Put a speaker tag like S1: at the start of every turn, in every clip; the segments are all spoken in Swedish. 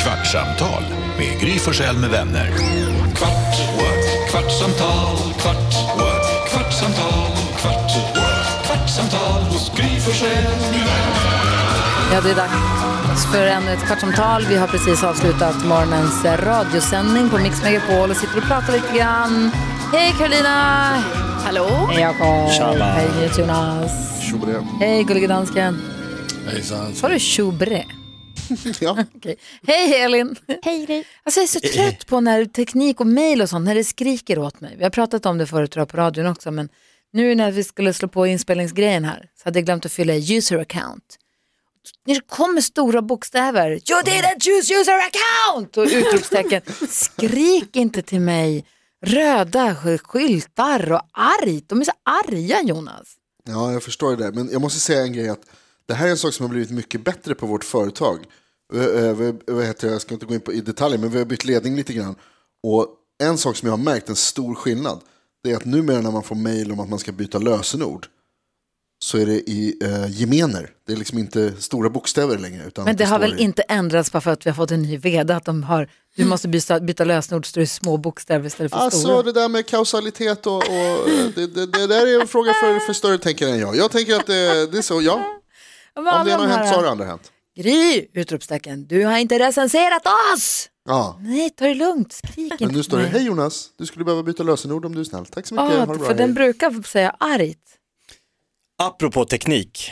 S1: Kvartsamtal med Gry Forssell med vänner. Kvart, what? kvartsamtal, kvart, what? kvartsamtal, kvart, what? kvartsamtal hos Gry Forssell med vänner.
S2: Ja, det är dags för ännu ett kvartsamtal. Vi har precis avslutat morgonens radiosändning på Mix Megapol och sitter och pratar lite grann. Hej Karolina!
S3: Hallå?
S2: Hej Jakob!
S4: Tjaba.
S2: Hej Jonas!
S4: Tjobre.
S2: Hej gullige dansken!
S4: Hejsan.
S2: Sa du tjobre?
S4: Ja. Eh,
S2: Okej. Hej Elin!
S3: Hej Gry.
S2: Alltså jag är så trött på när teknik och mejl och sånt, när det skriker åt mig. Vi har pratat om det förut tror jag, på radion också, men nu när vi skulle slå på inspelningsgrejen här så hade jag glömt att fylla i user account. När det kommer stora bokstäver, you
S5: Mm.
S2: didn't choose user account! Och utropstecken. Skrik inte till mig. Röda sk- skyltar och argt. De är så arga Jonas.
S5: Ja, jag förstår det där. Men jag måste säga en grej. att Det här är en sak som har blivit mycket bättre på vårt företag. Eh, eh, vad- Vad heter det? Jag ska inte gå in på i detaljer, men vi har bytt ledning lite grann. Och en sak som jag har märkt, en stor skillnad, det är att numera när man får mejl om att man ska byta lösenord så är det i eh, gemener. Det är liksom inte stora bokstäver längre. Utan
S2: Men det har
S5: står
S2: väl
S5: i-
S2: inte ändrats bara för att vi har fått en ny vd, att de har, du måste byta, byta lösenord så det är små bokstäver istället för stora.
S5: Mm. Alltså det där med kausalitet och, och eh, det, det, det där är en fråga för, för större tänkare än jag. Jag tänker att det, det är så, ja.
S2: Ja, men
S5: Om
S2: alla
S5: det ena
S2: de
S5: har hänt
S2: här-
S5: så har det andra hänt.
S2: Gry! Utropstecken. Du har inte recenserat oss!
S5: Ja.
S2: Nej, ta det lugnt. Skrik inte
S5: Men nu står det,
S2: till mig.
S5: hej Jonas, du skulle behöva byta lösenord om du är snäll. Tack så mycket,
S2: Ja,
S5: ha det bra.
S2: Ah, för den
S5: hej."
S2: brukar säga argt.
S4: Apropå teknik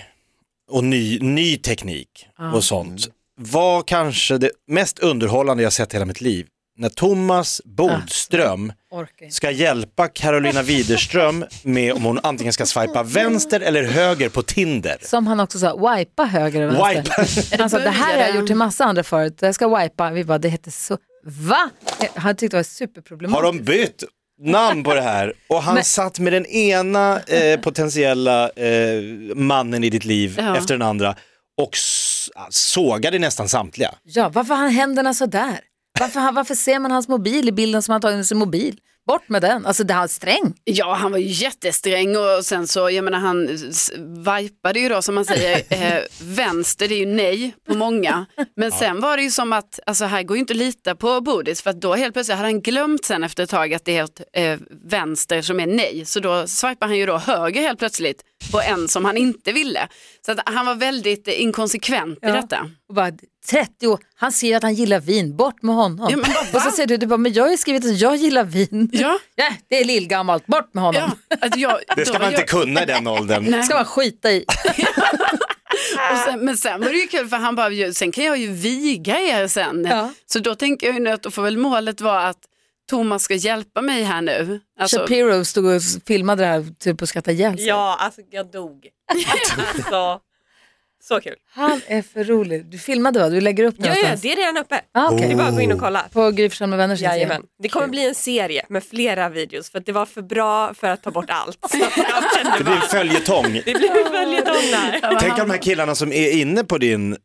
S4: och ny, ny teknik och sånt. Var kanske det mest underhållande jag sett i hela mitt liv när Thomas Bodström
S2: Orkar inte.
S4: ska hjälpa Carolina Widerström med om hon antingen ska swipa vänster eller höger på Tinder.
S2: Som han också sa, wipa höger och vänster.
S4: Wipa.
S2: Han sa, det här har jag gjort till massa andra förut, jag ska wipa. Vi bara, det hette så. Va? Han tyckte det var
S4: Har
S2: superproblematiskt.
S4: de bytt namn på det här? Och han satt med den ena eh, potentiella eh, mannen i ditt liv
S3: Ja.
S4: efter den andra och s- sågade nästan samtliga.
S2: Ja, varför har han händerna så där? Varför, han- varför ser man hans mobil i bilden som han tagit med sin mobil? Bort med den. Alltså, det här är sträng.
S3: Ja, han var ju jättesträng och sen så, jag menar han s- vajpade ju då som man säger, eh, vänster det är ju nej på många. Men sen var det ju som att, alltså här går ju inte att lita på Bodis för att då helt plötsligt hade han glömt sen efter ett tag att det är ett, eh, vänster som är nej. Så då swipar han ju då höger helt plötsligt på en som han inte ville. Så att han var väldigt eh, inkonsekvent i
S2: Ja.
S3: detta.
S2: Och bara, 30 år, han säger att han gillar vin, bort med honom.
S3: Ja, men vad
S2: och så
S3: fan?
S2: säger du, du bara, men jag har ju skrivit att jag gillar vin.
S3: Ja.
S2: Nej, det är lillgammalt, bort med honom.
S3: Ja, att jag,
S4: Det
S3: då
S4: ska
S3: var
S4: man inte
S3: jag-
S4: kunna i den åldern.
S2: ska man skita i.
S3: Och sen, men sen var det ju kul för han bara, "Ju- sen kan jag ju viga er sen.
S2: Ja.
S3: Så då tänker jag ju nu att då får väl målet vara att Thomas ska hjälpa mig här nu. Alltså,
S2: Shapiro stod och filmade det här typ och skrattade ihjäl sig.
S6: Ja, alltså jag dog. alltså, så kul.
S2: Han är för rolig. Du filmade va? Du lägger upp det
S6: Ja, ja, Oh.
S2: någonstans?
S6: det är redan uppe.
S2: Ah, okej.
S6: Det är bara att gå in och kolla.
S2: På Gry Forssell med vänner sin sida.
S6: Jajamän. Det kommer bli en serie med flera videos för att det var för bra för att ta bort allt. Så jag
S4: Det
S6: kände
S4: blir en
S6: bara,
S4: följetong.
S6: det blir en följetong där.
S4: Tänk om de här killarna som är inne på din, eh,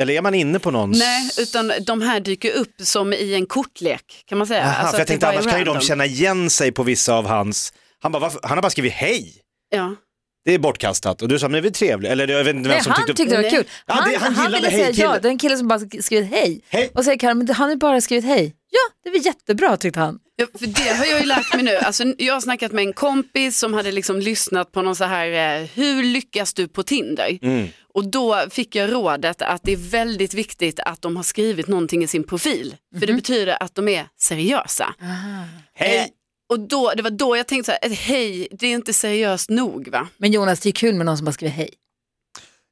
S4: eller är man inne på någons?
S3: nej, utan de här dyker upp som i en kortlek kan man säga.
S4: Aha,
S3: Alltså
S4: för jag
S3: att det
S4: tänkte
S3: bara är
S4: annars kan ju de
S3: random.
S4: känna igen sig på vissa av hans, han, bara, "Varför?" han har bara skrivit hej,
S3: Ja.
S4: det är bortkastat och du sa men det är väl trevligt, eller jag vet inte vem
S2: Nej,
S4: som
S2: han
S4: tyckte,
S2: tyckte det var
S3: Nej.
S2: kul.
S4: Ja,
S2: Han,
S4: det- han
S2: han, ville
S4: gillade
S2: säga
S4: hej-killen.
S2: ja, det är en kille som bara sk- skrivit hej.
S4: Hej.
S2: Och säger Karin, men han har ju bara skrivit hej. Ja, det var jättebra tyckte han.
S3: Ja, för det har jag ju lärt mig nu. Alltså, jag har snackat med en kompis som hade liksom lyssnat på någon så här, eh, hur lyckas du på Tinder? Och då fick jag rådet att det är väldigt viktigt att de har skrivit någonting i sin profil. För det betyder att de är seriösa. Eh,
S4: hej,
S3: och då, det var då jag tänkte så här, ett hej, det är inte seriöst nog va?
S2: Men Jonas, det är kul med någon som bara skriver hej.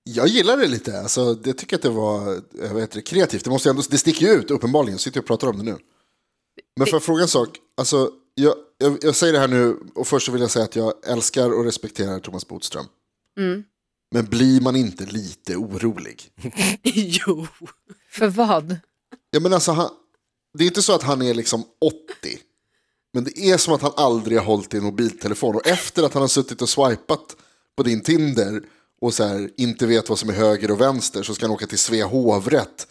S5: Jag gillar det lite, alltså, jag tycker att det var eh, vad heter det, kreativt. Det, måste jag ändå, det sticker ju ut uppenbarligen, sitter jag och pratar om det nu. Men får jag fråga en sak? Alltså, jag, jag, jag säger det här nu, och först så vill jag säga att jag älskar och respekterar Thomas Bodström.
S2: Mm.
S5: Men blir man inte lite orolig?
S3: jo.
S2: För vad?
S5: Ja, men alltså, han, det är inte så att han är liksom 80. Men det är som att han aldrig har hållit i en mobiltelefon. Och efter att han har suttit och swipat på din Tinder och så här, inte vet vad som är höger och vänster så ska han åka till Svea hovrätt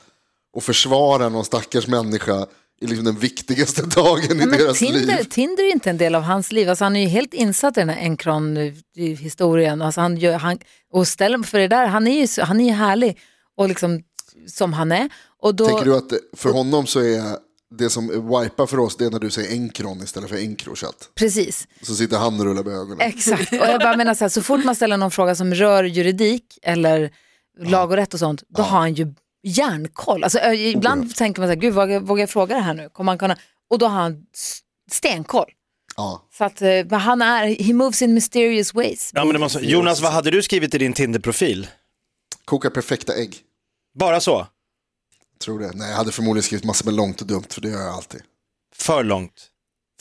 S5: och försvara någon stackars människa i liksom den viktigaste dagen i
S2: Men
S5: deras
S2: Tinder,
S5: liv.
S2: Tinder är inte en del av hans liv. Alltså han är ju helt insatt i den här Encron-historien. Alltså han gör, han, och ställer för det där, han är ju, så- han är ju härlig och liksom som han är. Och då,
S5: Tänker du att det- för honom så är det som wipar för oss det är när du säger enkron istället för enkrochat.
S2: Precis.
S5: Så sitter han och rullar med ögonen.
S2: Exakt, och jag bara menar så här, så fort man ställer någon fråga som rör juridik eller lag och rätt och sånt, då har han ju järnkoll. Alltså, ö, ibland tänker man så här, gud vågar, vågar jag fråga det här nu? Kommer han kunna? Och då har han s- stenkoll.
S5: Ja.
S2: Så att, eh, men han är, he moves in mysterious ways.
S4: Ja, men det måste... Jonas, vad hade du skrivit i din Tinder-profil?
S5: Koka perfekta ägg.
S4: Bara så?
S5: Tror det. Nej, jag hade förmodligen skrivit massor med långt och dumt, för det gör jag alltid.
S4: För långt?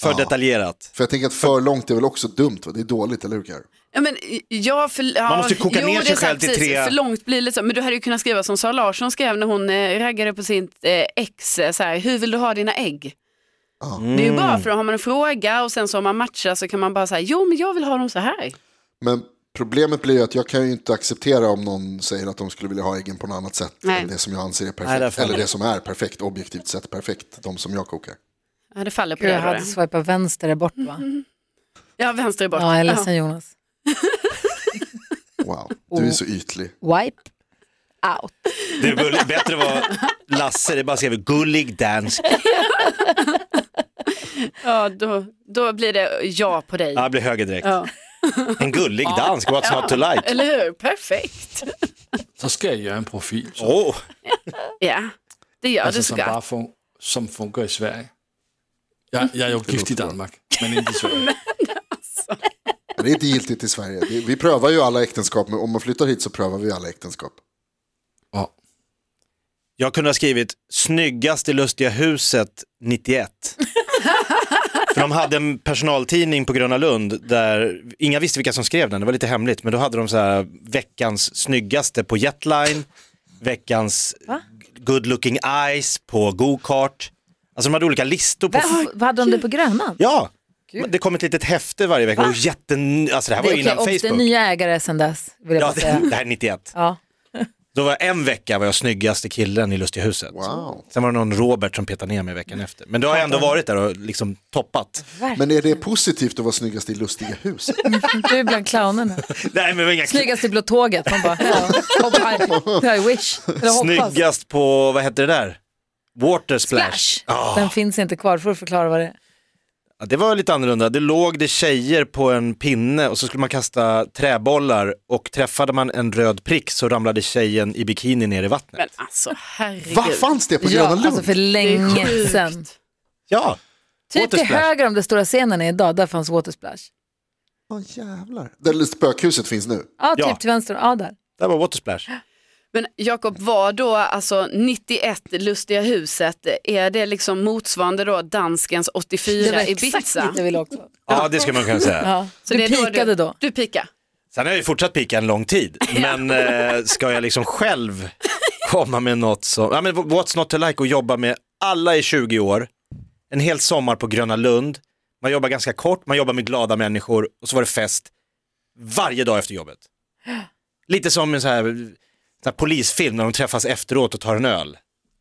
S4: För
S5: Ja.
S4: detaljerat?
S5: För jag tänker att för långt är väl också dumt, va? det är dåligt, eller hur Karo?
S3: Ja, men, ja, för, ja,
S4: måste ju koka
S3: jo,
S4: ner
S3: det är
S4: sig
S3: sant,
S4: själv till
S3: precis.
S4: tre-
S3: För långt blir det lite så. Men du hade ju kunnat skriva som Sara Larsson skrev när hon eh, raggade på sin eh, ex, eh, så här, hur vill du ha dina ägg? Det är ju
S4: Mm.
S3: bara för att har man en fråga och sen så om man matchar så kan man bara säga, jo men jag vill ha dem så här.
S5: Men problemet blir ju att jag kan ju inte acceptera om någon säger att de skulle vilja ha äggen på något annat sätt
S3: Nej.
S5: än det som jag anser är
S4: Nej,
S5: perfekt.
S4: därför-
S5: eller det som är perfekt, objektivt sett perfekt, de som jag kokar.
S3: Ja, det faller på
S2: Gud,
S3: det.
S2: jag
S3: då,
S2: hade
S3: det.
S2: swipat vänster där bort va?
S4: Mm.
S3: Ja, vänster är bort.
S2: Ja, jag är ledsen Jonas.
S5: Wow,
S2: Oh.
S5: du är så ytlig.
S2: Wipe out.
S4: Det är väl bättre att vara Lasse, det är bara att skriva gullig dansk.
S3: Ja, då, då blir det ja på dig.
S4: Ja, det blir höger direkt.
S3: Ja.
S4: En gullig dansk, what's not to like?
S3: Eller hur? Perfekt.
S7: Så skal jeg gøre en profil, så,
S4: Åh,
S3: Ja, det gör
S7: altså,
S3: det så
S7: som
S3: gott.
S7: bare fun som fungerer i Sverige. Jeg, jeg er jo gift i Danmark, men ikke i Sverige.
S5: Men det är inte giltigt i Sverige. Vi vi prövar ju alla äktenskap, men om man flyttar hit så prövar vi alla äktenskap.
S7: Og
S4: jag kunde ha skrivit snyggaste lustiga huset 91. För de hade en personaltidning på Gröna Lund där inga visste vilka som skrev den, det var lite hemligt, men då hade de så här veckans snyggaste på Jetline, veckans good looking eyes på go-kart. Alltså de hade olika listor på...
S2: Vem, vad hade de det på Grönan?
S4: Ja, men det kom ett litet häfte varje vecka. Och jätten... alltså det här var ju
S2: okej,
S4: innan
S2: och det är
S4: Facebook.
S2: nya ägare sedan dess, vill jag
S4: Ja,
S2: bara säga.
S4: det, det här är 91.
S2: Ja.
S4: Då var jag en vecka var jag snyggaste killen i Lustiga huset.
S5: Wow.
S4: Sen var det någon Robert som petade ner mig veckan efter. Men då har jag ändå varit där och liksom toppat.
S5: Men är det positivt att vara snyggast i lustiga huset?
S2: Du är bland clownerna.
S4: Nej, men det var inga
S2: Snyggast i blå tåget. Man bara, ja, hoppa, I wish. Eller hoppas.
S4: Snyggast på, vad hette det där? Water splash.
S2: Splash.
S4: Ja.
S2: Den finns inte kvar, får du förklara vad det är.
S4: Ja, det var lite annorlunda. Det låg det tjejer på en pinne och så skulle man kasta träbollar och träffade man en röd prick så ramlade tjejen i bikini ner i vattnet.
S3: Men alltså, herregud.
S5: Vad fanns det på Gröna Lund?
S2: alltså för
S3: Det är
S2: länge
S3: sjukt.
S2: sedan.
S4: Ja,
S2: Typ till
S4: Watersplash.
S2: höger om det stora scenen är idag, där fanns Watersplash.
S5: Åh jävlar. Där spökhuset finns nu.
S2: Ja, typ
S4: Ja.
S2: till vänster, ja där.
S4: det var water splash.
S3: Men Jakob, var då alltså 91 Lustiga huset, är det liksom motsvarande då danskens 84 Ibiza?
S2: dit jag ville också.
S4: Ja, det ska man kunna säga.
S2: Ja.
S3: Så
S2: du
S3: det är
S2: pikade då.
S3: Du pika.
S4: Sen har jag ju fortsatt pika en lång tid, men eh, ska jag liksom själv komma med något som, ja men what's not to like och jobba med, alla i 20 år, en hel sommar på Gröna Lund, man jobbar ganska kort, man jobbar med glada människor och så var det fest varje dag efter jobbet. Lite som en sån här, sån här polisfilm när de träffas efteråt och tar en öl.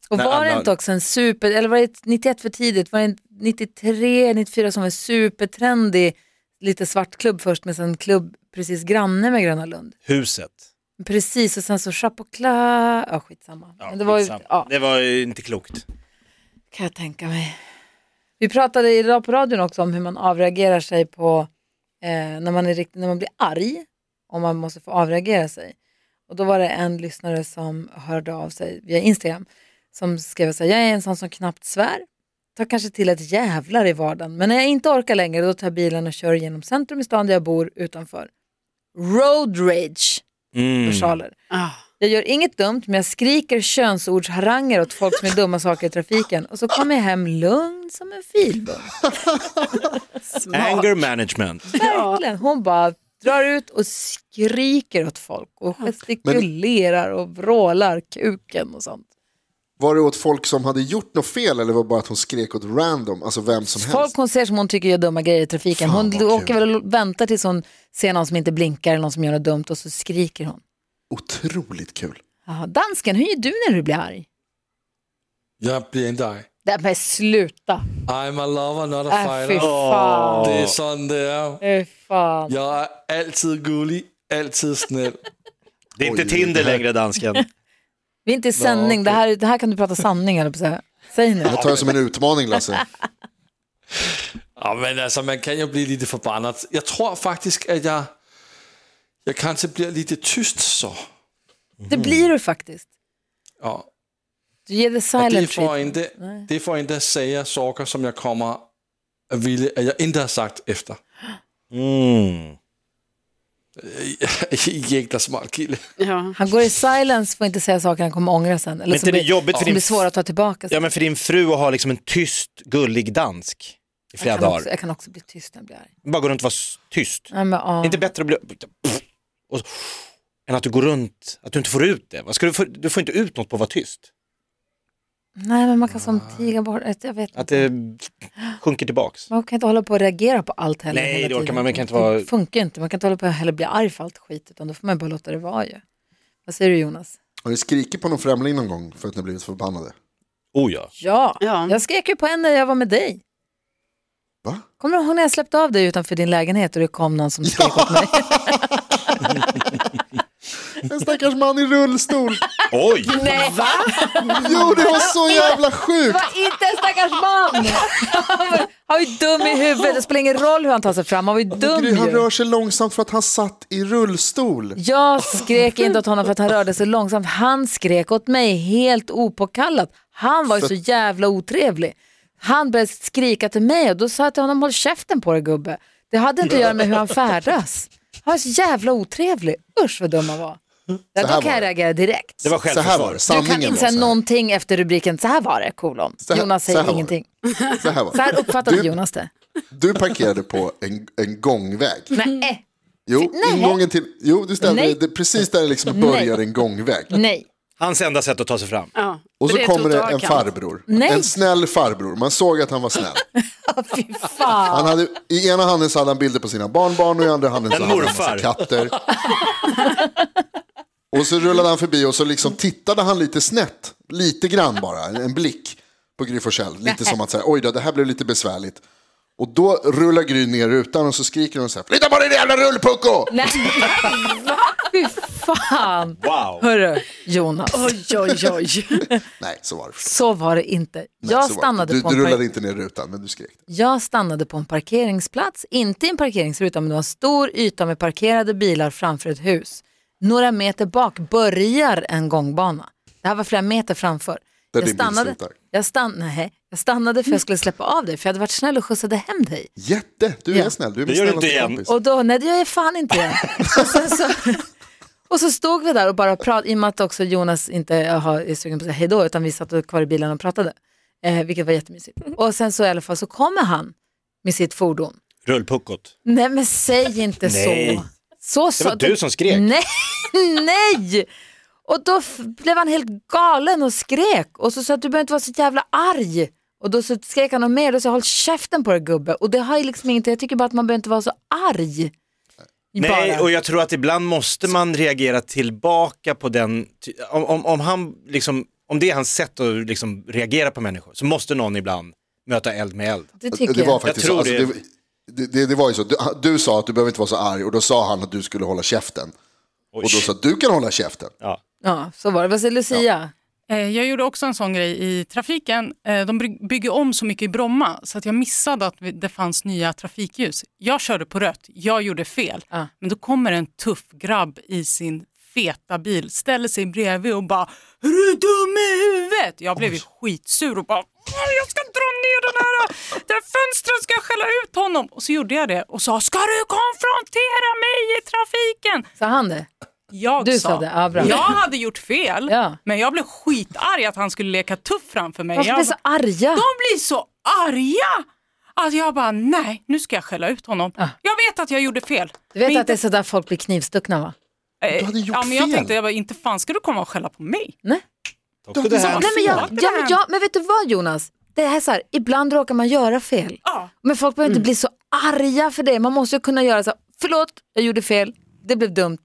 S2: Och
S4: När
S2: var det
S4: alla-
S2: inte också en super, eller var det 91 för tidigt, var det en 93, 94 som var en supertrendig lite svartklubb först men sen klubb precis granne med Gröna Lund.
S4: Huset.
S2: Precis och sen så Chapocla, ja skitsamma. men det var ju,
S4: Skitsamma.
S2: ja,
S4: det var ju inte klokt.
S2: kan jag tänka mig. Vi pratade idag på radion också om hur man avreagerar sig på eh, när, man är riktigt, när man blir arg och man måste få avreagera sig. Och då var det en lyssnare som hörde av sig via Instagram som skrev så här, jag är en sån som knappt svär, tar kanske till ett jävlar i vardagen, men när jag inte orkar längre då tar jag bilen och kör genom centrum i stan där jag bor utanför. Road rage,
S4: Mm.
S2: versaler.
S3: Ah.
S2: Jag gör inget dumt men jag skriker könsordsharanger åt folk som är dumma saker i trafiken och så kommer jag hem lugn som en filbund.
S4: Anger management.
S2: Verkligen. Hon bara drar ut och skriker åt folk och gestikulerar och vrålar kuken och sånt.
S5: Var det åt folk som hade gjort något fel eller var det bara att hon skrek åt random, alltså vem som
S2: Folk
S5: helst?
S2: hon ser som hon tycker gör dumma grejer i trafiken.
S5: Fan,
S2: Hon
S5: vad kul.
S2: åker väl och väntar tills hon ser någon som inte blinkar eller någon som gör något dumt och så skriker hon.
S5: Otroligt kul.
S2: Jaha, dansken, hur gör du när du blir arg?
S7: jeg bliver ikke dig.
S2: Nej men sluta.
S7: I'm a lover, not a
S2: Äh, fy
S7: fighter.
S2: fan.
S7: Det er sådan, det er.
S2: Fy fan.
S7: Jeg er altid gullig, altid snäll.
S4: Det är inte
S5: Oj,
S4: Tinder
S5: det här-
S4: längre dansken. Mm.
S2: Vi är inte i sändning, det, här, det här kan du prata sanning eller på så här. Säg nu.
S4: Mm.
S5: Jag tar det som en utmaning Lasse.
S7: Ja, men altså, man kan jo blive lidt forbandet. Jeg tror faktisk, at jeg, jeg kanskje bliver lidt tyst så.
S2: Det blir du faktiskt.
S7: Ja.
S2: Du ger det
S7: Og det er
S2: silent
S7: for
S2: treatment.
S7: endda, det er for endda sager, sorger, som jeg kommer at ville, at jeg ikke har sagt efter.
S4: Mm.
S7: Jeg er ikke der smart kilde.
S3: Ja.
S2: Han går i silence, får inte säga saker han kommer ångra sen. Eller
S4: Men
S2: som
S4: inte det är
S2: blir,
S4: jobbigt för
S2: som
S4: din-
S2: blir svåra att ta tillbaka. sen.
S4: Ja men för din fru att ha liksom en tyst, gullig dansk i flera
S2: jag, kan
S4: dagar.
S2: också, jag kan också bli tyst när jag blir arg.
S4: Bara gå runt och vara s- tyst.
S2: Ja, men, ja.
S4: Är inte bättre att bli... Och så... Än att du går runt, att du inte får ut det. Vad Ska du, få... du får inte ut något på att vara tyst.
S2: Nej, men man kan som tiga bort. Jag vet
S4: Att
S2: inte.
S4: det sjunker tillbaks.
S2: Man kan inte hålla på och reagera på allt heller.
S4: Nej,
S2: hela
S4: det orkar
S2: tiden.
S4: man, man kan inte vara-
S2: Det funkar inte. Man kan inte hålla på och heller bli arg för allt skit, utan då får man bara låta det vara ju. Vad säger du Jonas?
S5: Har ni skrikit på någon främling någon gång för att ni har blivit förbannade?
S4: Oh ja.
S2: Ja,
S3: Ja.
S2: jag skrek ju på en när jag var med dig.
S5: Va?
S2: Kommer du ihåg när jag släppte av dig utanför din lägenhet och det kom någon som skrek åt mig?
S5: En stackars man i rullstol.
S4: Oj!
S2: Nej,
S5: Jo, det var så jävla sjukt.
S2: var inte en stackars man! Han var ju dum i huvudet, det spelar ingen roll hur han tar sig fram, han var ju dum
S5: Gry, han
S2: ju.
S5: rör sig långsamt för att han satt i rullstol.
S2: Jag skrek inte åt honom för att han rörde sig långsamt, han skrek åt mig helt opåkallat. Han var ju så jävla otrevlig. Han började skrika till mig och då sa jag till honom, håll käften på dig gubbe. Det hade inte att göra med hur han färdas. Han var så jävla otrevlig, usch vad dum han var. Då
S5: här
S2: kan
S5: var
S2: jag
S5: det.
S2: reagera direkt.
S4: Det var
S5: Så här var
S4: självförsvar.
S5: det.
S2: Du kan
S5: Sanningen
S2: inte
S5: alltså. var
S2: säga
S5: så här.
S2: någonting efter rubriken, så här var det, kolon.
S5: Så här-
S2: Jonas
S5: så här
S2: säger
S5: var det.
S2: ingenting.
S5: Så här var
S2: Så
S5: det.
S2: här uppfattade
S5: Du-
S2: Jonas det.
S5: Du parkerade på en, en gångväg.
S2: Nej,
S5: Jo,
S2: Nej.
S5: ingången till, jo du ställde
S2: Nej.
S5: dig det- precis där det liksom börjar en gångväg.
S2: nej.
S4: Hans enda sätt att ta sig fram.
S3: Ja.
S5: Och så
S3: är
S5: kommer det en
S3: totalkamp.
S5: farbror.
S2: Nej.
S5: En snäll farbror. Man såg att han var snäll.
S2: Fy fan.
S5: Han hade, I ena handen så hade han bilder på sina barnbarn och i andra handen så
S4: En
S5: hade han
S4: morfar.
S5: massa katter. Och så rullade han förbi och så liksom tittade han lite snett, lite grann bara, en en blick på Gry Forssell. Lite som att säga, oj då, det här blev lite besvärligt. Och då rullar Gry ner rutan och så skriker hon så här, flytta på dig din jävla rullpucko!
S2: Nej. Fy fan.
S4: Wow!
S2: Hörru, Jonas.
S3: Oj, oj, oj.
S5: Nej, så var det.
S2: Så var det inte.
S5: Nej,
S2: jag,
S5: så var det.
S2: stannade
S5: Du,
S2: på en
S5: du
S2: par-
S5: rullade inte ner rutan, men du skrek.
S2: jag stannade på en parkeringsplats, inte i en parkeringsruta, men det var en stor yta med parkerade bilar framför ett hus. Några meter bak börjar en gångbana. Det här var flera meter framför.
S5: Där
S2: jag,
S5: din bil
S2: stannade,
S5: slutar.
S2: jag, stann, nej, jag stannade för jag skulle släppa av dig, för jag hade varit snäll och skjutsade hem dig.
S5: Jätte, du är
S2: Ja.
S5: snäll. Du är
S4: Det
S5: min
S4: gör du
S5: snällaste
S4: inte igen.
S5: kompis.
S2: Och då, nej det gör jag fan inte igen. Och, sen så, och så stod vi där och bara pratade, i och med att också Jonas inte har- är sugen på att säga hejdå, utan vi satt kvar i bilen och pratade, eh, vilket var jättemysigt. Och sen så i alla fall så kommer han med sitt fordon.
S4: Rullpuckot.
S2: Nej men säg inte
S4: Nej.
S2: så. så sa-
S4: Det var du som skrek.
S2: Nej, nej. Och då f- blev han helt galen och skrek och så sa att du behöver inte vara så jävla arg. Och då så skrek han och mer och sa håll käften på dig gubbe. Och det har ju liksom ingenting, jag tycker bara att man behöver inte vara så arg.
S4: Nej,
S2: Bara.
S4: och jag tror att ibland måste man reagera tillbaka på den, ty- om, om, om, han liksom, om det är hans sätt att liksom reagera på människor, så måste någon ibland möta eld med eld.
S2: Det
S5: Det,
S2: tycker
S5: det
S2: jag.
S5: var faktiskt
S4: tror
S5: så.
S4: det.
S5: Alltså, det, det, det var ju så. Du, du sa att du behöver inte vara så arg och då sa han att du skulle hålla käften. Och då sa du kan hålla käften.
S4: Ja.
S2: Ja, så var det. Vad säger Lucia?
S8: Eh, Jag gjorde också en sån grej i trafiken. Eh, De bry- bygger om så mycket i Bromma så att jag missade att vi- det fanns nya trafikljus. Jag körde på rött, jag gjorde fel.
S2: Ja.
S8: Men då kommer en tuff grabb i sin feta bil, ställer sig bredvid och bara “Är du dum i huvudet?” Jag blev ju skitsur och bara "Åh, “Jag ska dra ner den här, det här fönstret, ska jag skälla ut honom?” Och så gjorde jag det och sa “Ska du konfrontera mig i trafiken?”
S2: Sa han det?
S8: Jag
S2: Du
S8: sa
S2: sa det, ja, bra.
S8: jag hade gjort fel,
S2: Ja.
S8: men jag blev skitarg att han skulle leka tuff framför mig.
S2: Varför
S8: Jag,
S2: blir så arga?
S8: de blir så arga! Att jag bara, nej, nu ska jag skälla ut honom. Jag vet att jag gjorde fel.
S2: Ah. Du vet
S8: men
S2: att det är sådär folk blir knivstuckna va?
S8: eh,
S5: Du hade gjort
S8: ja, men jag
S5: fel.
S8: tänkte, jag bara, inte fan ska du komma och skälla på mig.
S2: Nej.
S4: Också det här.
S2: Nej, men, jag,
S8: Ja, det
S2: ja,
S8: var
S2: men,
S8: han.
S2: jag, men vet du vad Jonas? Det här är så här, ibland råkar man göra fel.
S8: Ja.
S2: Men folk behöver inte bli så arga för det. Man måste ju kunna göra så här, förlåt, jag gjorde fel, det blev dumt.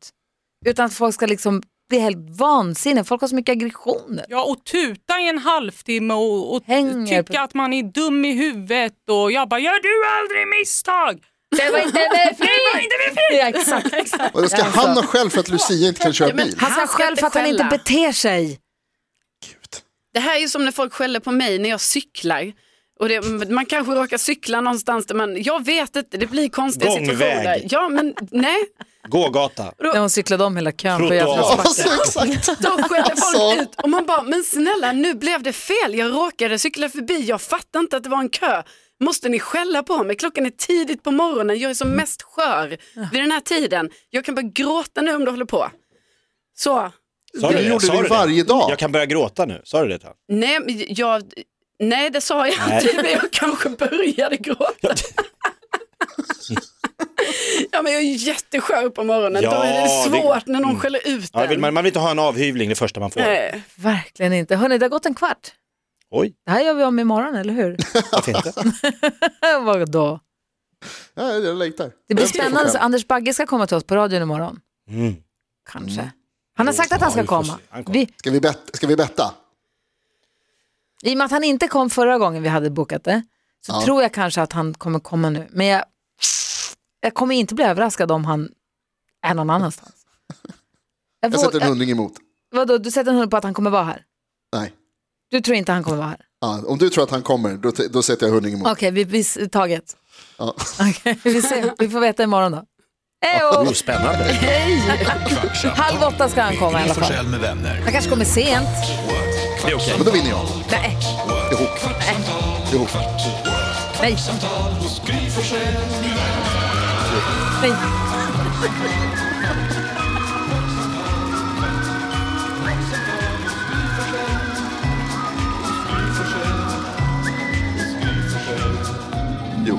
S2: Utan att folk ska liksom bli helt vansinniga. Folk har så mycket aggressioner.
S8: Ja, och tuta i en halvtimme och, och
S2: Hänger
S8: tycka
S2: på-
S8: att man är dum i huvudet och jag bara, gör du aldrig misstag?
S2: Det var inte med fel!
S8: Inte min fel!
S2: Ja, exakt, exakt.
S5: Och då ska
S2: Ja, alltså.
S5: han ha själv för att Lucia inte kan köra bil?
S2: Han ska
S3: Han ska
S2: själv
S3: inte
S2: för att han inte
S3: skälla.
S2: beter sig.
S3: Det här är ju som när folk skäller på mig när jag cyklar. Och det, man kanske råkar cykla någonstans där man, jag vet inte, det blir konstiga
S4: Gångväg.
S3: situationer. Ja men nej,
S4: Gågata.
S2: När hon cyklade om hela kön på
S4: Trottoar.
S2: Jädrasbacken.
S5: Alltså, exakt.
S3: då skäller folk
S5: Alltså.
S3: ut och man bara, men snälla nu blev det fel, jag råkade cykla förbi, jag fattar inte att det var en kö. Måste ni skälla på mig? Klockan är tidigt på morgonen, jag är som mest skör vid den här tiden. Jag kan börja gråta nu om du håller på. Så,
S4: Sa
S5: Det gjorde
S4: Sa
S5: vi varje dag.
S4: Jag kan börja gråta nu. Sa du det? Tan?
S3: nej, men jag, nej det sa jag inte, men jag kanske började gråta. ja men jag är ju jätteskör på morgonen,
S4: Ja,
S3: då är det
S4: det- Mm.
S3: svårt när någon skäller ut
S4: Ja,
S3: en.
S4: vill man, man vill inte ha en avhyvling det första man får.
S3: Nej.
S2: Verkligen inte. Hörni, det har gått en kvart.
S4: Oj,
S2: Det här gör vi om imorgon, eller hur?
S4: varför inte?
S2: Vadå?
S5: Ja, jag längtar.
S2: Det blir
S5: Jag blir
S2: spännande.
S5: chockad.
S2: Så Anders Bagge ska komma till oss på radion imorgon.
S4: Mm.
S2: Kanske. Han har sagt att han ska
S4: vi får
S2: komma.
S4: se. Han kommer.
S2: Vi,
S5: Ska vi, bet- ska vi betta?
S2: I och med att han inte kom förra gången vi hade bokat det så
S5: Ja.
S2: tror jag kanske att han kommer komma nu. Men jag, jag kommer inte bli överraskad om han är någon annanstans. Jag
S5: Jag
S2: våg,
S5: sätter en
S2: jag,
S5: hundring emot.
S2: vadå, du sätter en hund på att han kommer vara här?
S5: Nej.
S2: Du tror inte han kommer vara här?
S5: Ja, om du tror att han kommer, då, t- då sätter jag hundring emot.
S2: Okej, vi, vi, s- taget.
S5: Ja.
S2: Okej, vi, ser, vi får veta imorgon då. Hej
S4: Oh, spännande.
S1: Kvartsamtal
S2: Halv åtta ska han komma i
S1: med Gry
S2: alla fall.
S1: Forssell med vänner.
S2: Han kanske kommer sent.
S1: What?
S4: Det är okej.
S5: Men då vinner jag.
S2: Nej,
S5: Jo. Jo.
S2: nej,
S1: Kvartsamtal hos Gry Forssell med vänner.
S2: nej.
S5: Jo.